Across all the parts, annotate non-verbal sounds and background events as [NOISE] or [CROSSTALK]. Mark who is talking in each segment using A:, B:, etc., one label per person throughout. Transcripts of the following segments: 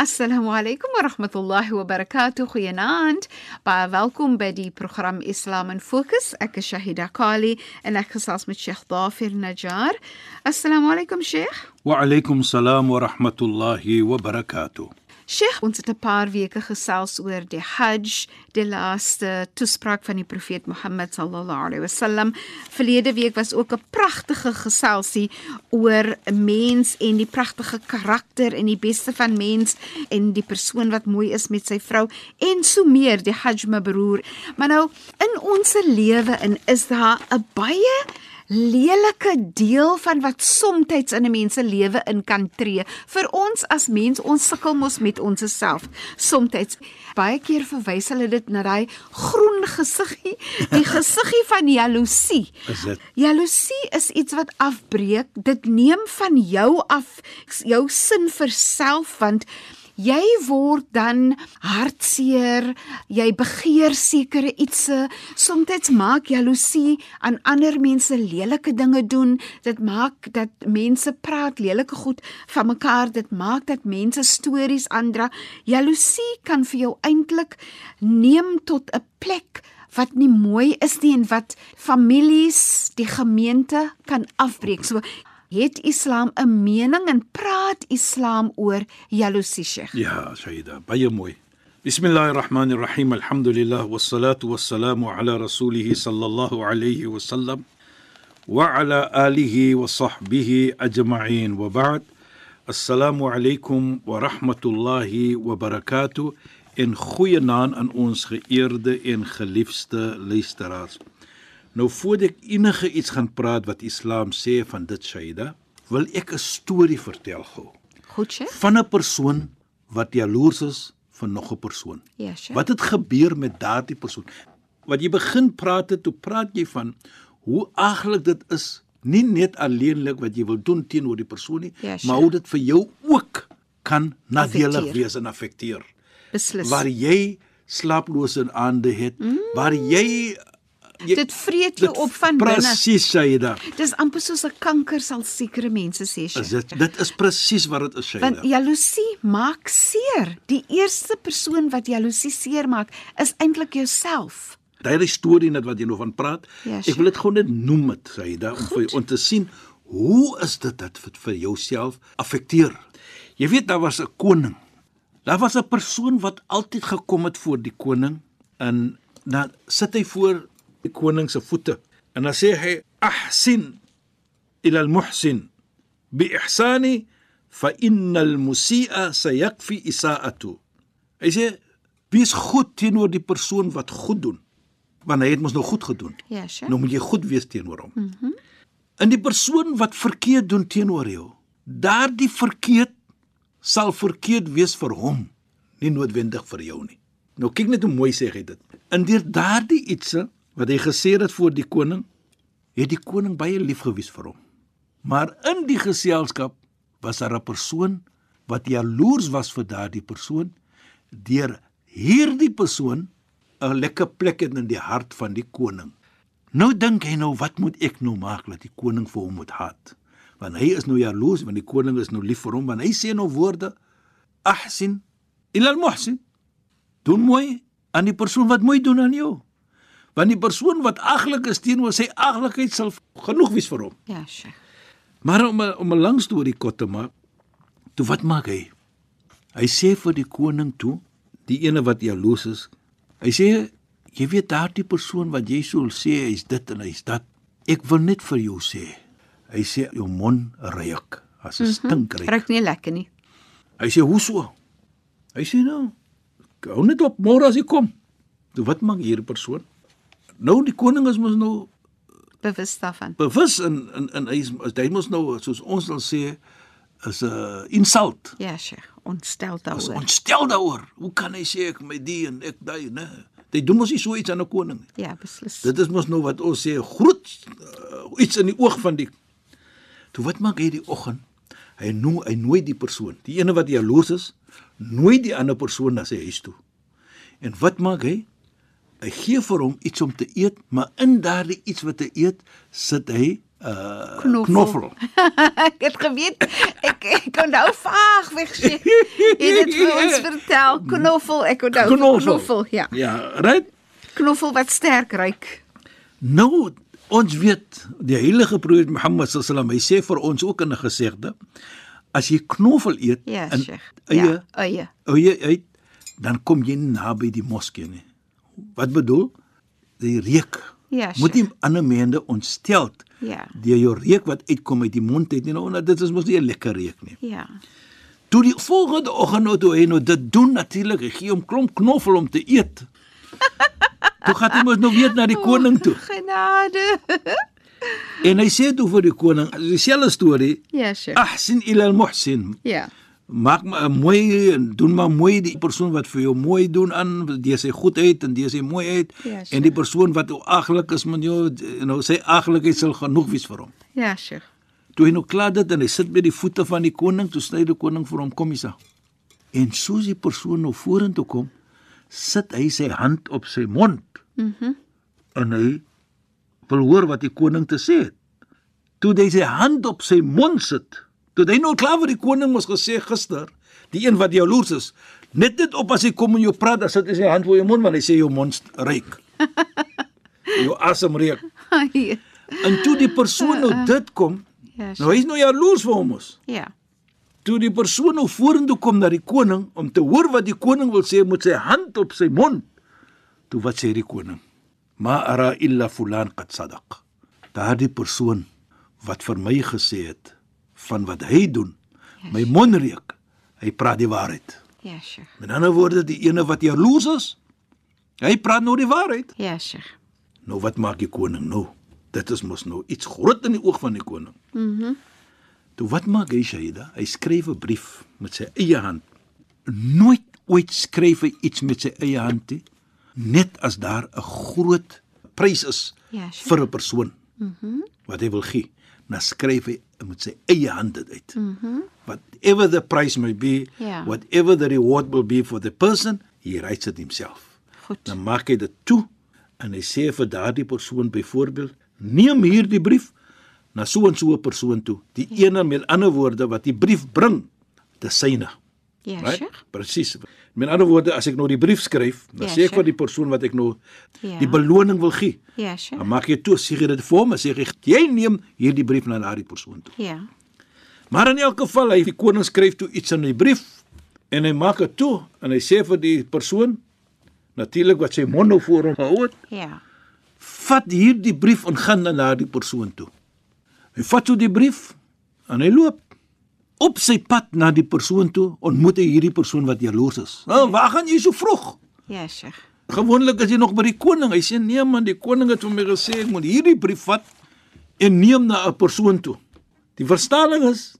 A: Assalamu alaykum wa rahmatullahi wa barakatuh. Goeienaand. Baie welkom by die program Islam in Fokus. Ek is Shahida Kali en ek gesels met Sheikh Dafer Najjar. Assalamu alaykum Sheikh.
B: وعليكم السلام ورحمة الله وبركاته
A: Sheikh, ons het 'n paar weke gesels oor die Hajj, die laaste toespraak van die profeet Mohammed sallallahu alaihi wasallam. Verlede week was ook 'n pragtige geselsie oor 'n mens en die pragtige karakter en die beste van mens en die persoon wat mooi is met sy vrou en so meer, die Hajj mabrur. Maar nou in ons lewe in is daar 'n baie lelike deel van wat soms in 'n mens se lewe in kan tree. Vir ons as mens, ons sukkel mos met onsself. Soms baie keer verwys hulle dit na daai groen gesiggie, die gesiggie van jaloesie.
B: Is dit?
A: Jaloesie is iets wat afbreek. Dit neem van jou af jou sin vir self want Jy word dan hartseer, jy begeer sekere ietsie. Soms maak jaloesie aan ander mense lelike dinge doen. Dit maak dat mense praat lelike goed van mekaar. Dit maak dat mense stories aandra. Jaloesie kan vir jou eintlik neem tot 'n plek wat nie mooi is nie en wat families, die gemeente kan afbreek. So het Islam 'n mening en praat Islam oor jaloesie, Sheikh?
B: يا شهيدة بايا موي بسم الله الرحمن الرحيم الحمد لله والصلاة والسلام على رسوله صلى الله عليه وسلم وعلى آله وصحبه أجمعين وبعد السلام عليكم ورحمة الله وبركاته en goeienaand aan ons geëerde en geliefde luisteraars. Nou voordat ek enige iets gaan praat wat Islam sê van dit Shaida, wil ek 'n storie vertel gou.
A: Goed, Sheikh?
B: van 'n persoon wat jaloers is van nog 'n persoon.
A: Ja, Sheikh.
B: Wat het gebeur met daardie persoon? Wat jy begin praat het, toe praat jy van hoe aglik dit is, nie net alleenlik wat jy wil doen teenoor die persoon nie,
A: Ja, Sheikh.
B: maar hoe dit vir jou ook kan nadelig
A: Affekteer.
B: wees en affekteer.
A: Beslis.
B: Waar jy slaaplose aande het, mm. waar jy, eh, jy
A: dit vreet jou op van binne.
B: Presies, Shaida.
A: Dis amper soos 'n kanker sal sekere mense sê,
B: Is
A: Sheikh.
B: dit ja? dit is presies wat dit is, Shaida.
A: Want jaloesie maak seer. Die eerste persoon wat jaloesie seer maak, is eintlik jouself.
B: Daai storie net wat jy nou van praat.
A: Ja,
B: ek wil dit gewoon net noem dit Saida om vir
A: Goed.
B: om te sien hoe is dit dat vir, vir jouself affekteer. Jy weet daar was 'n koning. Daar was 'n persoon wat altyd gekom het voor die koning en dan sit hy voor die koning se voete en dan sê hy ahsin ila al-muhsin bi-ihsani fa innal musii'a sayakfi isaa'atu. Hy sê wees goed teenoor die persoon wat goed doen, want hy het mos nou goed gedoen.
A: Ja, Sheikh.
B: Nou moet jy goed wees teenoor hom. Mhm. Mm en die persoon wat verkeerd doen teenoor jou, daardie verkeerd sal verkeerd wees vir hom, nie noodwendig vir jou nie. Nou kyk net hoe mooi sê hy dit. En deur daardie ietsie wat hy gesê het voor die koning, het die koning baie lief gewees vir hom. Maar in die geselskap was daar 'n persoon wat jaloers was vir daardie persoon deur hierdie persoon 'n lekker plek het in die hart van die koning. Nou dink hy nou wat moet ek nou maak dat die koning vir hom moet haat? Want hy is nou jaloers want die koning is nou lief vir hom want hy sê nou woorde ahsin ila al-muhsin. Doen mooi aan die persoon wat mooi doen aan jou. Want die persoon wat aglik is teenoor sy aglikheid sal genoeg wees vir hom.
A: Ja, Sheikh.
B: Maar om 'n- om 'n lang storie kort te maak, toe wat maak hy? Hy sê vir die koning toe, die ene wat jaloers is. Hy sê, jy weet daardie persoon wat jy sou sê hy's dit en hy's dat. Ek wil net vir jou sê. Hy sê jou mond ruik, as 'n mm -hmm. stinkryk.
A: Ruik nie lekker nie.
B: Hy sê hoe so? Hy sê nou, hou net op môre as jy kom. Toe wat maak hierdie persoon? Nou die koning is mos nou
A: bewus daarvan.
B: bewus in in in hy is hy mos nou soos ons dan sê is 'n insult.
A: Ja, Sheikh, ontstel
B: Ons
A: daaroor.
B: ontstel daaroor. Hoe kan hy sê ek my die en ek daai, né? Dit doen mos nie so iets aan 'n koning nie.
A: Ja, beslis. [LAUGHS]
B: Dit is mos nou wat ons sê groot uh, iets in die oog van die Toe wat maak hy die oggend? Hy noem hy nooi die persoon. Die ene wat jaloers is, nooi die ander persoon na sy huis toe. En wat maak hy? Hy gee vir hom iets om te eet, maar in daardie iets wat hy eet, sit hy uh
A: Knoffel.
B: knoffel.
A: ek het geweet ek ek onthou nou vaag weg Sheikh. Jy het dit vir ons
B: [LAUGHS]
A: vertel knoffel, ek onthou van [LAUGHS] knoffel, ja.
B: Ja, right?
A: Knoffel wat sterk ruik.
B: Nou ons weet die heilige profeet Mohammed sallam hy sê vir ons ook in 'n gesegde as jy knoffel eet
A: Ja,
B: en
A: Sheikh.
B: eie
A: Ja, eie.
B: eie uit dan kom jy nie naby die moskee nie. Wat bedoel? Die reuk.
A: Ja, Sheikh.
B: Moet nie ander mense ontstel
A: Ja.
B: deur jou reuk wat uitkom uit die mond uit nie. Nou nou, dit is mos nie 'n lekker reuk nie.
A: Ja.
B: Toe die volgende oggend nou toe hy nou dit doen natuurlik, hy gee hom klomp knoffel om te eet. toe gaan hy mos nou weer na die koning toe.
A: Oh, Genade.
B: En hy sê toe vir die koning, dieselfde storie,
A: Ja, Sheikh.
B: ahsin ila al-muhsin.
A: Ja.
B: Maak maar mooi en doen maar mooi die persoon wat vir jou mooi doen aan, die sy goedheid en die sy mooiheid
A: Ja, sure.
B: en die persoon wat jou aglik is met jou, nou sy aglikheid sal genoeg wees vir hom.
A: Ja, Sheikh. [LAUGHS]
B: Toe hy nou klaar dit en hy sit by die voete van die koning, toe sny die koning vir hom kom hiersa. En soos die persoon nou vorentoe kom, sit hy sy hand op sy mond. Mhm. Mm en hy wil hoor wat die koning te sê het. Toe hy sy hand op sy mond sit, toe hy nou klaar vir die koning mos gesê gister, die een wat jaloers is, net net op as hy kom en jou praat, dan sit hy sy hand voor jou mond want hy sê jou mond ruik. jou asem reuk. En toe die persoon nou dit kom,
A: Ja,
B: Nou hy's nou jaloers vir hom ons.
A: Ja.
B: Toe die persoon nou vorentoe kom na die koning om te hoor wat die koning wil sê met sy hand op sy mond. Toe wat sê die koning? Ma ara illa fulan qad sadaq. Daardie persoon wat vir my gesê het van wat hy doen, my mond reuk. Hy praat die waarheid.
A: Ja, Sheikh.
B: Met ander woorde, die ene wat jaloers is, hy praat nou die waarheid.
A: Ja, Sheikh.
B: Nou wat maak die koning nou? Dit is mos nou iets groot in die oog van die koning. Mhm. Mm Toe wat maak hy Shaida? Hy skryf 'n brief met sy eie hand. Nooit ooit skryf hy iets met sy eie hand nie, net as daar 'n groot prys is
A: Ja, sure.
B: vir 'n persoon. Mhm. Mm wat hy wil gee, dan skryf hy met sy eie hand dit uit. Mhm. Mm whatever the price may be,
A: Ja.
B: whatever the reward will be for the person, he writes it himself.
A: Goed.
B: Dan maak hy dit toe en hy sê vir daardie persoon byvoorbeeld, neem hierdie brief na so en so 'n persoon toe. Die ja. ene met ander woorde wat die brief bring, dis syne. nou-
A: Ja, Sheikh.
B: Presies. Met ander woorde, as ek nou die brief skryf, dan
A: Ja,
B: ja, sê ek
A: Sheikh.
B: vir die persoon wat ek nou
A: Ja.
B: ja. die beloning wil gee.
A: Ja, Sheikh.
B: Dan maak jy toe sê jy dit vir hom en sê jy, jy neem hierdie brief na daardie persoon toe.
A: Ja.
B: Maar in elk geval, hy die koning skryf toe iets in die brief en hy maak dit toe en hy sê vir die persoon natuurlik wat sy mond nou voor hom gehou het,
A: Ja.
B: vat hierdie brief en gaan dan na die persoon toe. Hy vat toe die brief en hy loop op sy pad na die persoon toe, ontmoet hy hierdie persoon wat jaloers is. "Nou, waar gaan jy so vroeg?"
A: Ja, Sheikh.
B: Gewoonlik is jy nog by die koning. Hy sê nee man, die koning het vir my gesê ek moet hierdie brief vat en neem na 'n persoon toe. Die verstaling is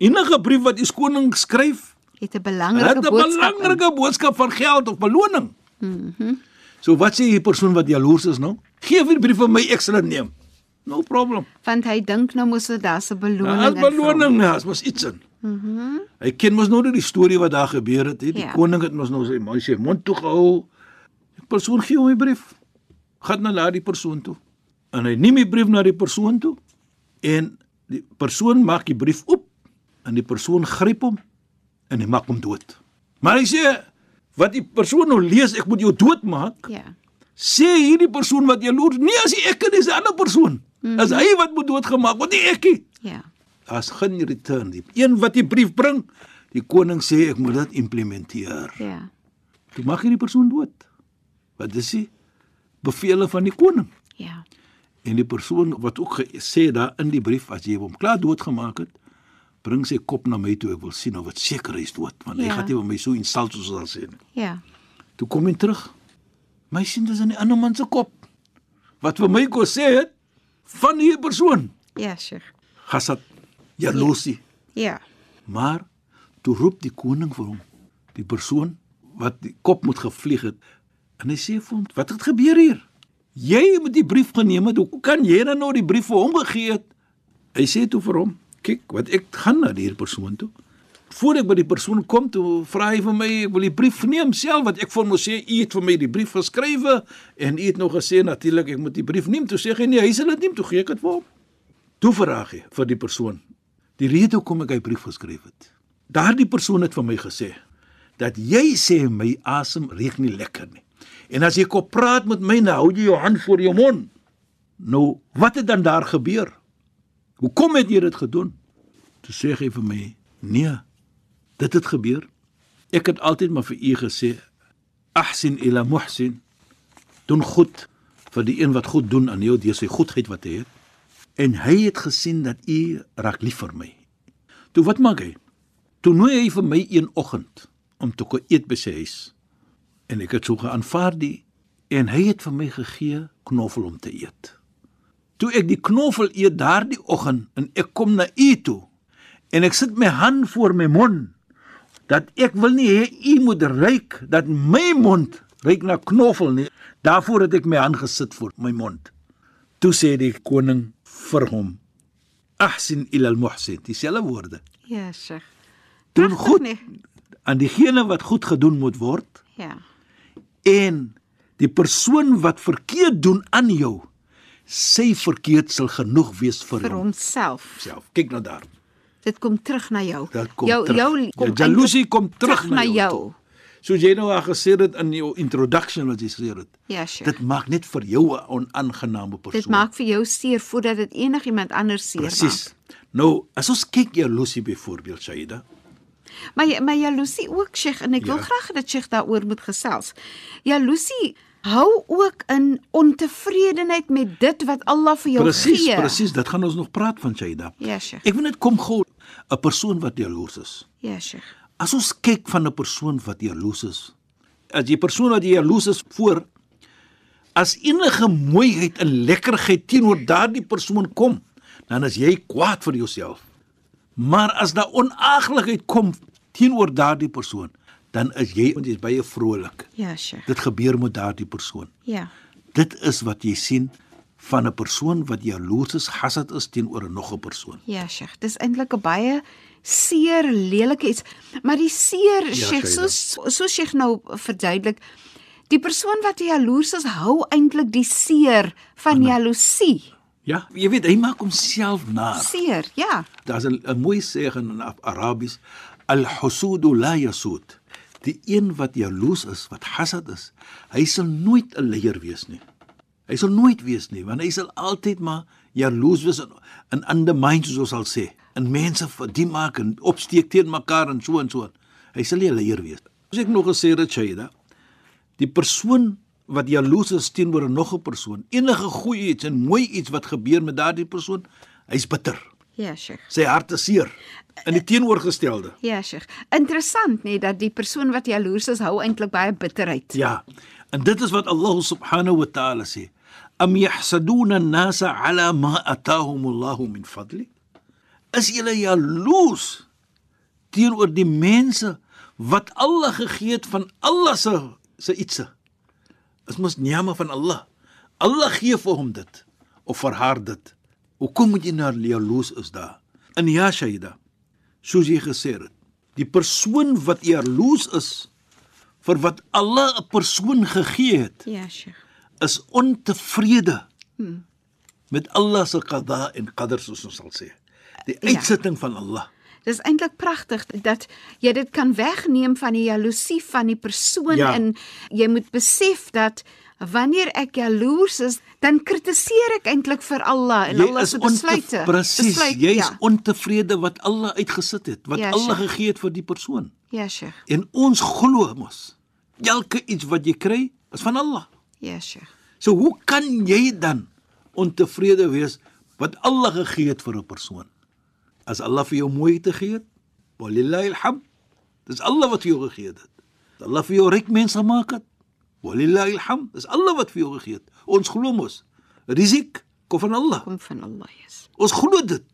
B: enige brief wat die koning skryf,
A: Het 'n
B: het
A: belangrike
B: 'n
A: boodskap. in.
B: belangrike boodskap van geld of beloning. Mhm. So wat sê die persoon wat jaloers is nou? Geef die brief vir my, ek sal dit neem. No problem.
A: Want hy dink nou mos dat daar 'n beloning
B: Daar's
A: in vir hom.
B: beloning, daar's mos iets in. Mhm. Hy ken mos nou net die storie wat daar gebeur het. He. Die
A: Ja.
B: ja. koning het mos nou sy mond sy mond toe gehou. Die persoon gee hom 'n brief. Gaan na daardie persoon toe. En hy neem die brief na die persoon toe en die persoon maak die brief oop en die persoon gryp hom en hy maak hom dood. Maar hy sê wat die persoon nou lees, ek moet jou doodmaak
A: Ja.
B: sê hierdie persoon wat jaloers, nee as hy ek en dis 'n ander persoon. Mm.
A: Mhm.
B: As hy wat moet doodgemaak word, nie ek nie.
A: Ja.
B: Daar's geen return nie. Een wat die brief bring, die koning sê ek moet dit implementeer.
A: Ja.
B: Toe mag hierdie persoon dood. Wat is die beveel van die koning?
A: Ja.
B: En die persoon wat ook gesê daar in die brief as jy hom klaar doodgemaak het, bring sy kop na my toe, ek wil sien of dit seker is dood, want ja. hy
A: Ja.
B: gaan nie vir my so insult soos ons al sê nie.
A: Ja.
B: Toe kom hy terug. My sien dis in die ander man se kop. Wat vir my kos sê het van hierdie persoon,
A: Ja, Sheikh.
B: hasad, jaloesie.
A: Ja.
B: Maar toe roep die koning vir hom, die persoon wat die kop moet gevlieg het, en hy sê vir hom, "Wat het gebeur hier? Jy moet die brief geneem het. Hoe kan jy dan nou die brief vir hom gegee het?" Hy sê toe vir hom, "Kyk, wat ek gaan na hierdie persoon toe. Voor ek by die persoon kom, toe vra hy vir my, ek wil die brief neem self wat ek vir hom moes sê, u het vir my die brief geskrywe en u het nog gesê natuurlik ek moet die brief neem." Toe sê hy, "Nee, hy sal dit neem." Toe gee ek dit vir hom. Toe vraag hy vir die persoon die rede hoekom ek hy brief geskryf het. Daardie persoon het vir my gesê dat jy sê my asem reuk nie lekker nie. En as jy kom praat met my, nou hou jy jou hand voor jou mond. Nou, wat het dan daar gebeur? Hoekom het jy dit gedoen? Toe sê hy vir my: "Nee, dit het gebeur. Ek het altyd maar vir u gesê, ahsin ila muhsin, doen goed vir die een wat goed doen aan jou deur sy goedheid wat hy het." en hy het gesien dat u raak lief vir my. Toe wat maak hy? Toe nooi hy vir my een oggend om te kom eet by sy huis. En ek het so geaanvaar die en hy het vir my gegee knoffel om te eet. Toe ek die knoffel eet daardie oggend en ek kom na u toe en ek sit my hand voor my mond dat ek wil nie hê u moet ruik dat my mond ruik na knoffel nie. Daarvoor het ek my hand gesit voor my mond. Toe sê die koning vir hom: "Ahsin ila al-muhsin." Dieselfde woorde.
A: Ja, Sheikh.
B: Doen
A: Pragtig,
B: goed.
A: nee.
B: Aan diegene wat goed gedoen moet word
A: Ja.
B: en die persoon wat verkeerd doen aan jou, sy verkeerd sal genoeg wees vir,
A: Vir
B: hom
A: homself.
B: self. Kyk nou daar.
A: Dit kom terug na jou.
B: Dit kom
A: jou
B: terug.
A: jou
B: Jou jaloesie kom terug na jou
A: jou.
B: Soos jy nou al gesê het in jou introduction wat jy gesê het.
A: Ja, Sheikh.
B: Dit maak net vir jou 'n onaangename persoon.
A: Dit maak vir jou seer voordat dit enigiemand anders seer maak.
B: presies. Nou, as ons kyk jaloesie byvoorbeeld, Shaida,
A: Maar jy- maar jaloesie ook, Sheikh, en ek wil
B: Ja.
A: graag dat Sheikh daaroor moet gesels. Jaloesie hou ook in ontevredenheid met dit wat Allah vir jou
B: Presies,
A: gee.
B: presies, dit gaan ons nog praat van Shaida.
A: Ja, Sheikh.
B: Ek wil net kom gou 'n persoon wat jaloers is.
A: Ja, Sheikh.
B: As ons kyk van 'n persoon wat jaloers is, as die persoon wat jaloers is voor as enige mooiheid en lekkerheid teenoor daardie persoon kom, dan is jy kwaad vir jouself. Maar as daar onaaglikheid kom teenoor daardie persoon, dan is jy want jy's baie vrolik.
A: Ja, Sheikh.
B: Dit gebeur met daardie persoon.
A: Ja.
B: Dit is wat jy sien van 'n persoon wat jaloers is, hasad is teenoor 'n nog 'n persoon.
A: Ja, Sheikh. Dis eintlik 'n baie seer lelike iets, maar die seer ja, Sheikh,
B: Shaila.
A: soos soos Sheikh nou verduidelik, die persoon wat jaloers is, hou eintlik die seer van jaloesie.
B: Ja, jy weet, hy maak homself naar.
A: Seer, ja.
B: Daar's 'n 'n mooi sêgin in Af- Arabies, al-husudu la yasud. Die een wat jaloers is, wat hasad is, hy sal nooit 'n leier wees nie. Hy sal nooit wees nie, want hy sal altyd maar jaloers wees en in ander minds soos ons sal sê. En mense verdien maak en opsteek teen mekaar en so en so. Hy sal nie 'n leier wees. As ek nog gesê het, Shaida, die persoon wat jaloers is teenoor nog 'n persoon, enige goeie iets en mooi iets wat gebeur met daardie persoon, hy's bitter.
A: Ja, Sheikh.
B: Sy hart is seer. In die teenoorgestelde.
A: Ja, Sheikh. Interessant nê nee, dat die persoon wat jaloers is, hou eintlik baie bitterheid.
B: Ja. En dit is wat Allah subhanahu wa ta'ala sê. Am yahsaduna an-nasa 'ala ma atahum Allah min fadli? Is julle jaloers teenoor die mense wat Allah gegee het van Allah se se ietsie? Dit mos niame van Allah. Allah gee vir hom dit of vir haar dit. Hoekom moet jy nou jaloers is daar? In ja, Shaida. soos jy gesê het. Die persoon wat jaloers is vir wat Allah 'n persoon gegee het,
A: Ja, Sheikh.
B: is ontevrede hmm. met Allah se qada en qadar soos ons sal sê. Die
A: Ja.
B: uitsetting van Allah.
A: Dis eintlik pragtig dat jy dit kan wegneem van die jaloesie van die persoon
B: Ja.
A: en jy moet besef dat wanneer ek jaloers is, dan kritiseer ek eintlik vir Allah en Allah se
B: ontef-
A: besluite.
B: presies,
A: Besluit,
B: jy is
A: ja.
B: ontevrede wat Allah uitgesit het, wat
A: Ja,
B: Allah
A: Sheikh.
B: gegee het vir die persoon.
A: Ja, Sheikh.
B: En ons glo mos, elke iets wat jy kry, is van Allah.
A: Ja, Sheikh.
B: So hoe kan jy dan ontevrede wees wat Allah gegee het vir 'n persoon? As Allah vir jou mooi te gee het, walillahi alham. Dis Allah wat vir jou gegee het. As Allah vir jou ryk mens gemaak het, Walillahi alham. Dis Allah wat vir jou gegee het. Ons glo mos. Risik kom van Allah.
A: kom van Allah is.
B: Ons glo dit.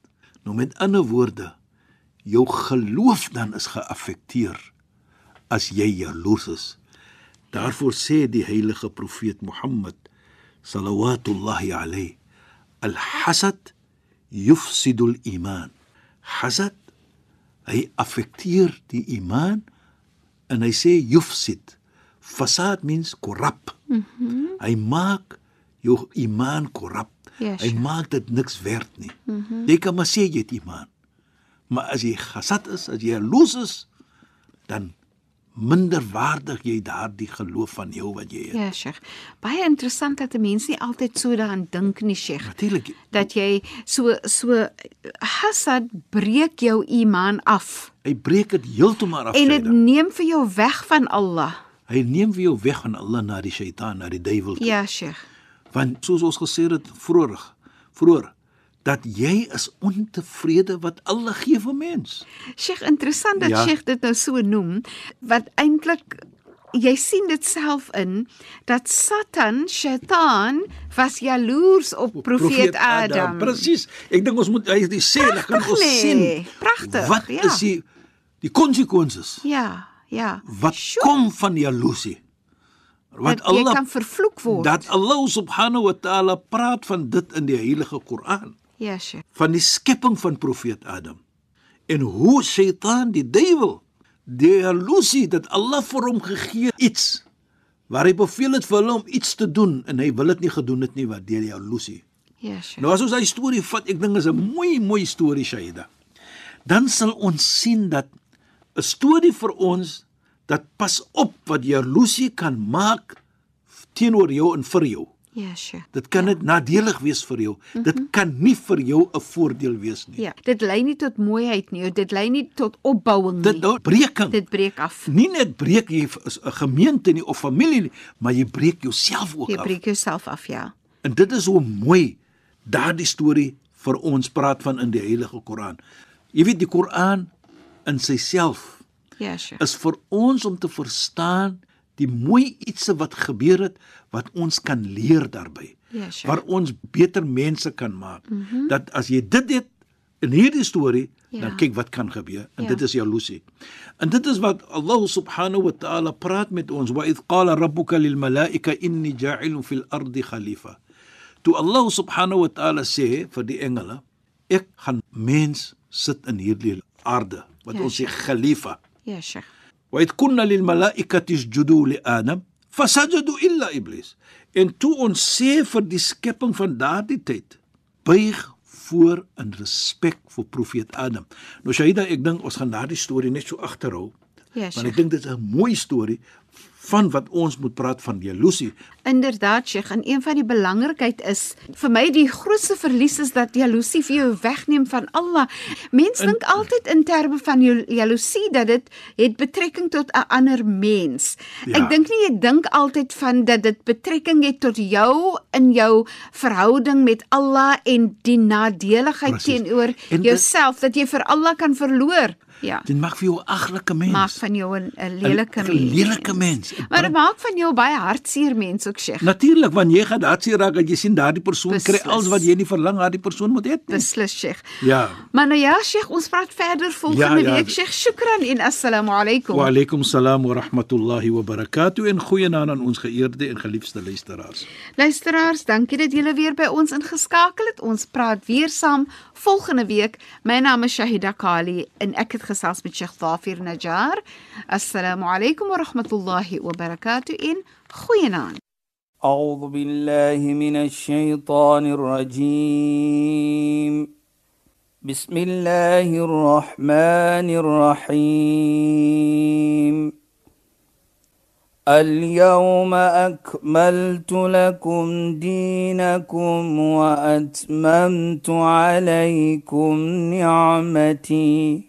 B: Nou met ander woorde, jou geloof dan is geaffekteer as jy jaloers is. Daarvoor sê die heilige profeet Mohammed sallallahu alayhi al-hasad yufsidu al-iman. Hasad hy affekteer die iman en hy sê yufsid. Fasad means korrup. Mm -hmm. Hy maak jou iman korrup.
A: Mhm. Ja,
B: hy
A: sure. Mhm.
B: maak dit niks werd nie. Mm -hmm. Jy kan maar sê jy het iman. Maar as jy hasad is, as jy jaloers is, dan minderwaardig jy daardie geloof van jou wat jy het. Ja.
A: Ja, Sheikh. Baie interessant dat 'n mens nie altyd so daaraan dink nie, Sheikh.
B: Natuurlik.
A: Dat jy so so hasad breek jou iman af
B: Hy breek dit heeltemal af.
A: en dit
B: Saida.
A: neem vir jou weg van Allah.
B: Hy neem vir jou weg van Allah na die Satan, na die duiwel. toe.
A: Ja, Sheikh.
B: Want soos ons gesê het vroeër, vroeër dat jy is ontevrede wat Allah gee vir mens.
A: Sheikh, interessant dat
B: Ja.
A: ja. Sheikh dit nou so noem, wat eintlik jy sien dit self in dat Satan, Shaitan was jaloers op, op profeet Adam.
B: Presies. Ek dink ons moet hy hy sê dan kan
A: Pragtig,
B: ons
A: nee.
B: sien.
A: Pragtig,
B: Wat
A: ja.
B: is die die konsekwensies
A: Ja, ja.
B: wat
A: Sjoe,
B: kom van jaloesie? Wat
A: dat jy
B: Allah
A: kan vervloek word.
B: dat Allah subhanahu wa ta'ala praat van dit in die heilige Koran.
A: Ja, Sheikh.
B: van die skepping van profeet Adam en hoe Satan die duiwel die illusie dat Allah vir hom gegee iets waar hy beveel het vir hulle om iets te doen en hy wil dit nie gedoen het nie wat deur die illusie.
A: Ja, Sheikh.
B: Nou as ons daai storie vat, ek dink is 'n mooi mooi storie Shaida. Dan sal ons sien dat 'n storie vir ons dat pas op wat jaloesie kan maak teenoor jou en vir jou.
A: Ja, Sheikh.
B: Dit kan net nadelig wees vir jou.
A: Mhm.
B: Mm -hmm. Dit kan nie vir jou 'n voordeel wees nie.
A: Ja, dit lei nie tot mooiheid nie, dit lei nie tot opbouing
B: Dit
A: nie.
B: nou breking.
A: Ja. Dit breek af.
B: nie net breek jy 'n gemeente nie of familie nie, maar jy breek jouself ook
A: Jy
B: af.
A: breek jouself af, ja.
B: En dit is hoe mooi daardie storie vir ons praat van in die Heilige Koran. Jy weet die Koran in syself
A: Ja, Sheikh.
B: is vir ons om te verstaan die mooi ietsie wat gebeur het wat ons kan leer daarbey.
A: Ja, sure.
B: Waar ons beter mense kan maak. Mm -hmm. Dat as jy dit het in hierdie storie, ja.
A: Ja.
B: dan kyk wat kan gebeur. En ja.
A: Ja.
B: dit is jaloesie. En dit is wat Allah subhanahu wa ta'ala praat met ons. Wa id qala rabbuka lil malaika inni ja'ilun fil ardi khalifa. Toe Allah subhanahu wa ta'ala sê vir die engele, ek gaan mens sit in hierdie aarde wat ja,
A: Ja,
B: ons sê
A: sure.
B: khalifa. Ja.
A: Ja, Sheikh.
B: وإذ كنا للملائكة اسجدوا لآدم فسجدوا إلا إبليس en toe ons sê vir die skepping van daardie tyd buig voor in respek vir profeet Adam. Nou Shaida, ek dink ons gaan daardie storie net so agterhou.
A: Ja,
B: want ek
A: Sheikh.
B: dink dit is 'n mooi storie van wat ons moet praat van jaloesie.
A: Inderdaad, Sheikh, en een van die belangrikheid is vir my die grootste verlies is dat jaloesie vir jou wegneem van Allah. Mense dink altyd in terme van jou jaloesie dat dit het betrekking tot 'n ander mens.
B: Ja.
A: Ek dink nie jy dink altyd van dat dit betrekking het tot jou in jou verhouding met Allah en die nadeligheid
B: Presies.
A: teenoor
B: En dit-
A: jouself dat jy vir Allah kan verloor. Ja.
B: Dit maak vir jou 'n aglike mens.
A: Maak van jou 'n- 'n lelike
B: Een-
A: mens.
B: een lelike mens. Dit
A: Maar dit maak van jou baie hartseer mens ook, Sheikh.
B: Natuurlik, want jy gaan daardie raak dat jy sien daardie persoon kry
A: Beslis.
B: alles wat jy nie verlang daardie persoon moet hê nie.
A: Beslis, Sheikh.
B: Ja.
A: Maar nou ja, Sheikh, ons praat verder volgende
B: Ja,
A: ja,
B: ja.
A: ja. week. Sheikh, shukran en assalamu alaykum.
B: Wa alaykum salaam wa rahmatullahi wa barakatuh en goeienaand aan ons geëerde en geliefde luisteraars.
A: Luisteraars, dankie dat julle weer by ons ingeskakel het. Ons praat weer saam volgende week. My naam is Shahida Kali en ek het gesels met Sheikh Dhafir Najjar. Assalamu alaykum wa rahmatullahi wa barakatuh en goeienaand.
C: أعوذ بالله من الشيطان الرجيم بسم الله الرحمن الرحيم اليوم أكملت لكم دينكم وأتممت عليكم نعمتي